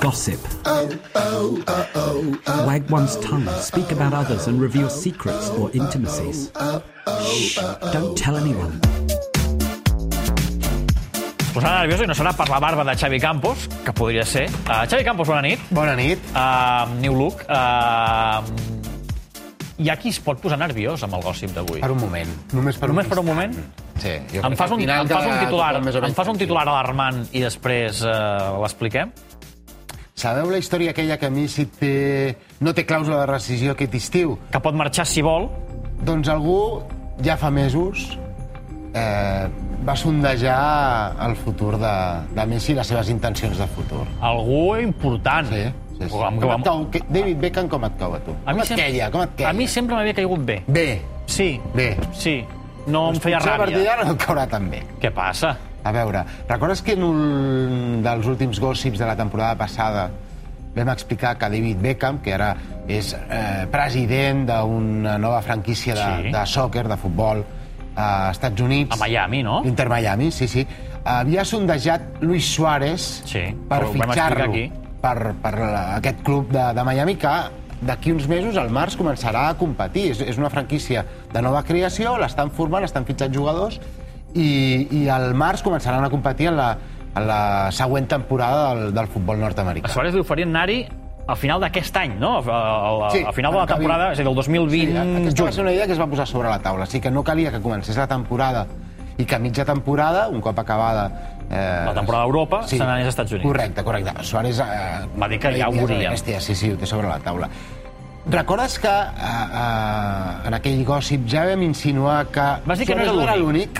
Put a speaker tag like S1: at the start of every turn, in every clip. S1: gossip. Oh, oh, oh, oh, oh Wag one's tongue, speak about others, and reveal secrets or intimacies. Shh, don't tell anyone.
S2: Posarà nerviosa i no serà per la barba de Xavi Campos, que podria ser. Uh, Xavi Campos, bona nit.
S3: Bona nit.
S2: Uh, new look. Uh, hi ha qui es pot posar nerviós amb el gossip d'avui.
S3: Per un moment. Només per
S2: Només
S3: un
S2: per un moment?
S3: Sí, jo
S2: Em
S3: crec
S2: fas
S3: que al
S2: un,
S3: final
S2: em fas
S3: quedarà
S2: un titular,
S3: tothom més o
S2: em
S3: menys
S2: fas un
S3: tranquil.
S2: titular alarmant i després uh, l'expliquem?
S3: Sabeu la història aquella que a mi si té... no té clàusula de rescisió aquest estiu?
S2: Que pot marxar si vol.
S3: Doncs algú ja fa mesos eh, va sondejar el futur de, de Messi i les seves intencions de futur.
S2: Algú important.
S3: Sí, sí, sí.
S2: O Amb,
S3: Com et
S2: amb,
S3: cau, que- David Beckham, com et cau a tu?
S2: a mi
S3: com et queia? Com et queia?
S2: a mi sempre m'havia caigut bé.
S3: Bé,
S2: Sí.
S3: Bé. Doncs
S2: Sí. No em feia
S3: potser a partir
S2: ràbia.
S3: d'ara no et caurà tan bé.
S2: Què passa?
S3: A veure, recordes que en un dels últims gossips de la temporada passada vam explicar que David Beckham, que ara és eh, president d'una nova franquícia de,
S2: Sí.
S3: sí. de sòquer, de futbol, a Estats Units...
S2: A Miami, no?
S3: Inter Miami, sí, sí. Havia sondejat Luis Suárez
S2: Sí,
S3: per
S2: ho vam explicar
S3: fitxar-lo
S2: aquí.
S3: per, per la- aquest club de, de Miami que d'aquí uns mesos, al març, començarà a competir. És, és una franquícia de nova creació, l'estan formant, estan fitxant jugadors i, i al març començaran a competir en la, en la següent temporada del, del futbol
S2: A
S3: nord-americà.
S2: Suárez li oferien anar-hi al final d'aquest any, no? A, a,
S3: Sí,
S2: a final de la
S3: que acabi-
S2: temporada, és a dir, del 2020...
S3: Aquesta va
S2: juny.
S3: ser una idea que es va posar sobre la taula. Sí que no calia que comencés la temporada i que a mitja temporada, un cop acabada... Eh,
S2: La temporada d'Europa, se n'anés als Estats Units.
S3: Correcte, correcte. Suárez... Eh,
S2: Va dir que ja ho
S3: és una
S2: volia.
S3: Bèstia, sí, sí, ho té sobre la taula. Recordes que eh, eh, en aquell gossip ja vam insinuar que...
S2: Vas dir que no
S3: Suárez
S2: era
S3: l'únic.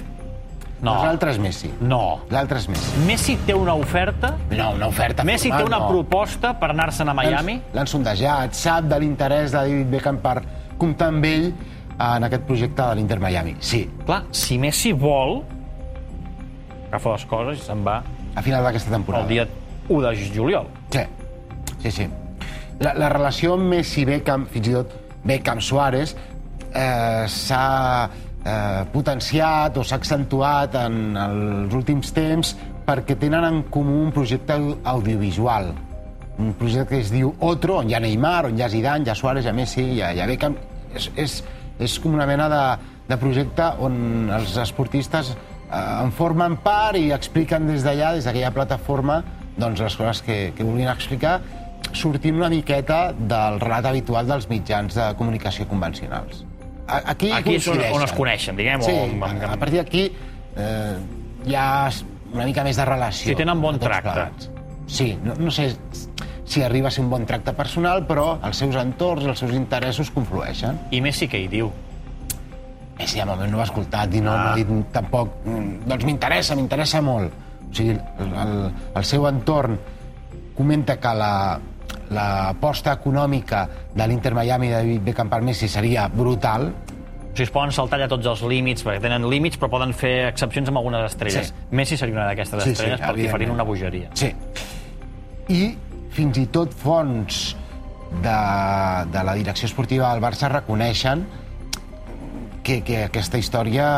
S2: No.
S3: Nosaltres Messi.
S2: No.
S3: Nosaltres Messi.
S2: Messi té una oferta...
S3: No, una oferta
S2: Messi
S3: formal,
S2: té una
S3: Ah, no. Doncs-
S2: proposta per anar-se'n a Miami?
S3: L'han- L'han sondejat, sap de l'interès de David Beckham per comptar amb ell en aquest projecte de l'Inter Miami. Sí,
S2: Clar, si Messi vol, agafa les coses i se'n va
S3: a final d'aquesta temporada.
S2: el dia 1 de juliol.
S3: Sí, sí, sí. La, la relació amb Messi-Beckham, fins i tot Beckham-Suárez, eh, s'ha eh, potenciat o s'ha accentuat en els últims temps perquè tenen en comú un projecte audiovisual. Un projecte que es diu Otro, on hi ha Neymar, on hi ha Zidane, hi ha Suárez, hi ha Messi, hi ha, hi ha Beckham. És, és, és com una mena de, de projecte on els esportistes eh, en formen part i expliquen des d'allà, des d'aquella plataforma, doncs les coses que, que volien explicar sortint una miqueta del relat habitual dels mitjans de comunicació convencionals. A- Aquí,
S2: Aquí és on,
S3: coincideixen.
S2: on es coneixen, diguem.
S3: Sí,
S2: o amb, amb,
S3: a, a
S2: amb...
S3: partir d'aquí eh, hi ha una mica més de relació.
S2: Sí, tenen bon
S3: entre tots
S2: tracte.
S3: plegats. Sí, no, no sé si arriba a ser un bon tracte personal, però els seus entorns, els seus interessos conflueixen.
S2: I Messi què hi diu?
S3: Messi de moment Eh, no ho ha escoltat i no, ah. no ha dit tampoc... "Mm, Doncs m'interessa, m'interessa molt. O sigui, el, el, el seu entorn comenta que la l'aposta econòmica de l'Inter Miami de David Beckham per Messi seria brutal.
S2: O sigui, es poden saltar ja tots els límits, perquè tenen límits, però poden fer excepcions amb algunes estrelles.
S3: Sí.
S2: Sí. Messi seria una d'aquestes
S3: Sí, sí,
S2: estrelles perquè farien
S3: evidentment.
S2: una bogeria.
S3: Sí. I fins i tot fonts de, de la direcció esportiva del Barça reconeixen que, que aquesta història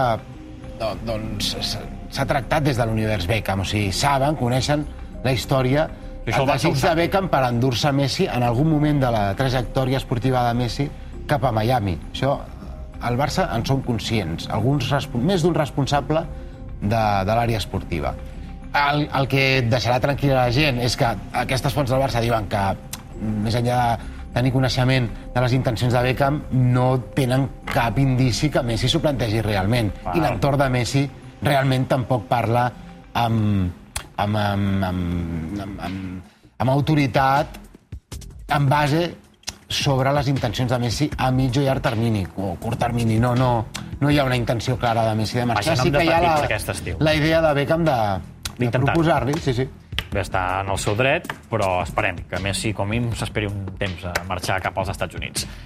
S3: do- doncs s'ha- s'ha tractat des de l'univers Beckham. O sigui, saben, coneixen la història
S2: I això el
S3: el
S2: Barça ho
S3: desig de
S2: sap.
S3: Beckham per endur-se Messi en algun moment de la trajectòria esportiva de Messi cap a Miami. Això, al Barça en som conscients. Alguns, respon- més d'un responsable de, de l'àrea esportiva. El, el que deixarà tranquil·la la gent és que aquestes fonts del Barça diuen que, més enllà de tenir coneixement de les intencions de Beckham, no tenen cap indici que Messi s'ho plantegi realment.
S2: Val.
S3: I l'entorn de Messi realment tampoc parla amb, amb, amb, amb, amb, amb, amb autoritat en base sobre les intencions de Messi a mig o llarg termini, o curt termini. No, no, no hi ha una intenció clara de Messi de marxar.
S2: Vaja, no hem de
S3: hi ha
S2: patir per aquest estiu.
S3: la idea de Beckham de, de
S2: D'intentar-ho.
S3: proposar-li, sí, sí.
S2: Bé, està en el seu dret, però esperem que Messi, com a mínim, s'esperi un temps a marxar cap als Estats Units.